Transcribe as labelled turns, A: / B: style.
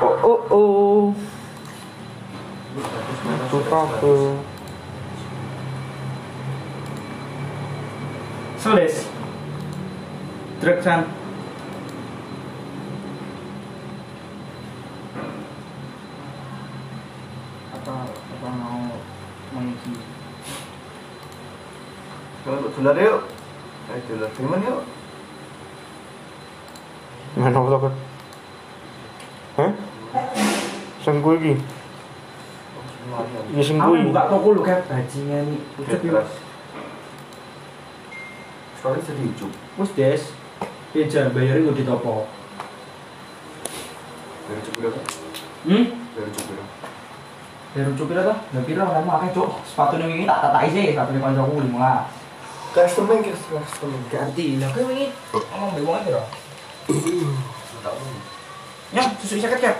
A: Oh oh oh.
B: 아, 그,
A: Itu kafe.
C: Seles. Dreksan.
D: apa apa mau mengisi
B: Jangan untuk dolar yuk. Eh dolar diman yuk.
A: Mana apa kan? Hah? Sengku iki.
B: Lumayan.
A: Ya sengku
C: Aku
A: iki.
C: buka toko lu kayak bajingan nih. Ucap yuk.
B: Jelas. Sekali jadi hijau.
C: Wes des. Iya, bayarin gue ditopo.
B: Dari hijau berapa?
C: Hmm?
B: Dari hijau berapa?
D: dari rujuk pira tuh dari pira kamu akeh cuk sepatu ini tak tak tak isi sepatu ini kancaku lima lah
B: Custom yang kita custom.
D: ganti lah kau ini ngomong bingung aja loh
B: Tak mau.
D: nyam susu sakit kan